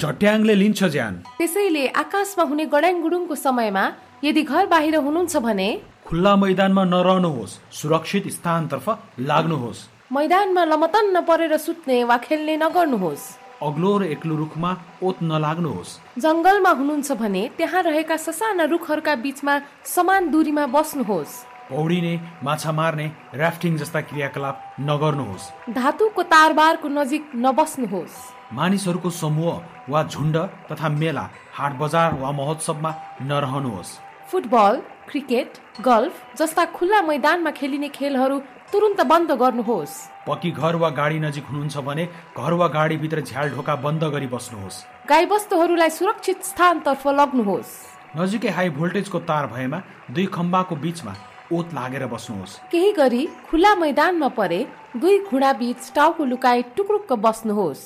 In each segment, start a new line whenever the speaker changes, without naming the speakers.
झट्याङले लिन्छ ज्यान
त्यसैले आकाशमा हुने गडाङगुडुङको समयमा यदि घर बाहिर हुनुहुन्छ भने
खुल्ला मैदानमा नरहनुहोस् सुरक्षित स्थानतर्फ लाग्नुहोस्
मैदानमा लमतन्न परेर सुत्ने वा खेल्ने नगर्नुहोस्
अग्लो र एक्लो रुखमा ओत नलाग्नुहोस्
जङ्गलमा हुनुहुन्छ भने त्यहाँ रहेका ससाना रुखहरूका बीचमा समान दूरीमा बस्नुहोस्
पौडिने माछा मार्ने ऱ्याफ्टिङ जस्ता क्रियाकलाप नगर्नुहोस्
धातुको तारबारको नजिक नबस्नुहोस्
मानिसहरूको समूह वा झुन्ड तथा मेला हाट बजार वा महोत्सवमा नरहनुहोस्
फुटबल क्रिकेट गल्फ जस्ता खुल्ला मैदानमा खेलिने खेलहरू तुरुन्त बन्द गर्नुहोस्
पक्की घर वा गाडी नजिक हुनुहुन्छ भने घर वा गाडीभित्र झ्याल ढोका बन्द गरी बस्नुहोस्
गाईबस्तुहरूलाई सुरक्षित स्थानतर्फ लग्नुहोस्
नजिकै हाई भोल्टेजको तार भएमा दुई खम्बाको बिचमा ओत लागेर बस्नुहोस्
केही गरी खुला मैदानमा परे दुई घुँडाबीच टाउको लुकाई टुक्रुक्क बस्नुहोस्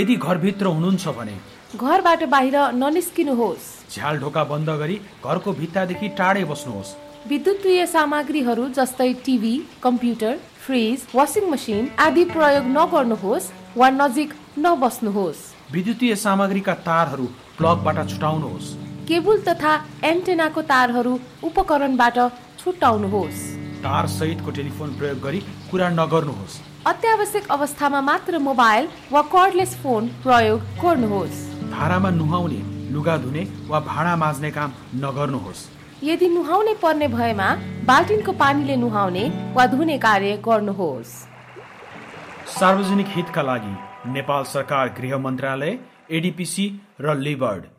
यदि घरभित्र हुनुहुन्छ भने
घरबाट बाहिर ननिस्किनुहोस्
झ्याल ढोका बन्द गरी घरको भित्तादेखि टाढै बस्नुहोस्
विद्युतीय सामग्रीहरू जस्तै TV computer fridge washing machine आदि प्रयोग नगर्नुहोस् वा नजिक नबस्नुहोस्
विद्युतीय सामग्रीका तारहरू प्लगबाट छुटाउनुहोस्
केबुल तथा एन्टेनाको तारहरू उपकरणबाट छुट्याउनुहोस्
तार सहितको टेलिफोन प्रयोग गरी कुरा नगर्नुहोस्
अत्यावश्यक अवस्थामा मात्र मोबाइल वा कर्डलेस फोन प्रयोग गर्नुहोस्
धारामा नुहाउने लुगा धुने वा भाँडा माझ्ने काम नगर्नुहोस्
यदि नुहाउने पर्ने भएमा बाल्टिनको पानीले नुहाउने वा धुने कार्य गर्नुहोस्
सार्वजनिक हितका लागि नेपाल सरकार गृह मन्त्रालय एडिपिसी र लिबर्ड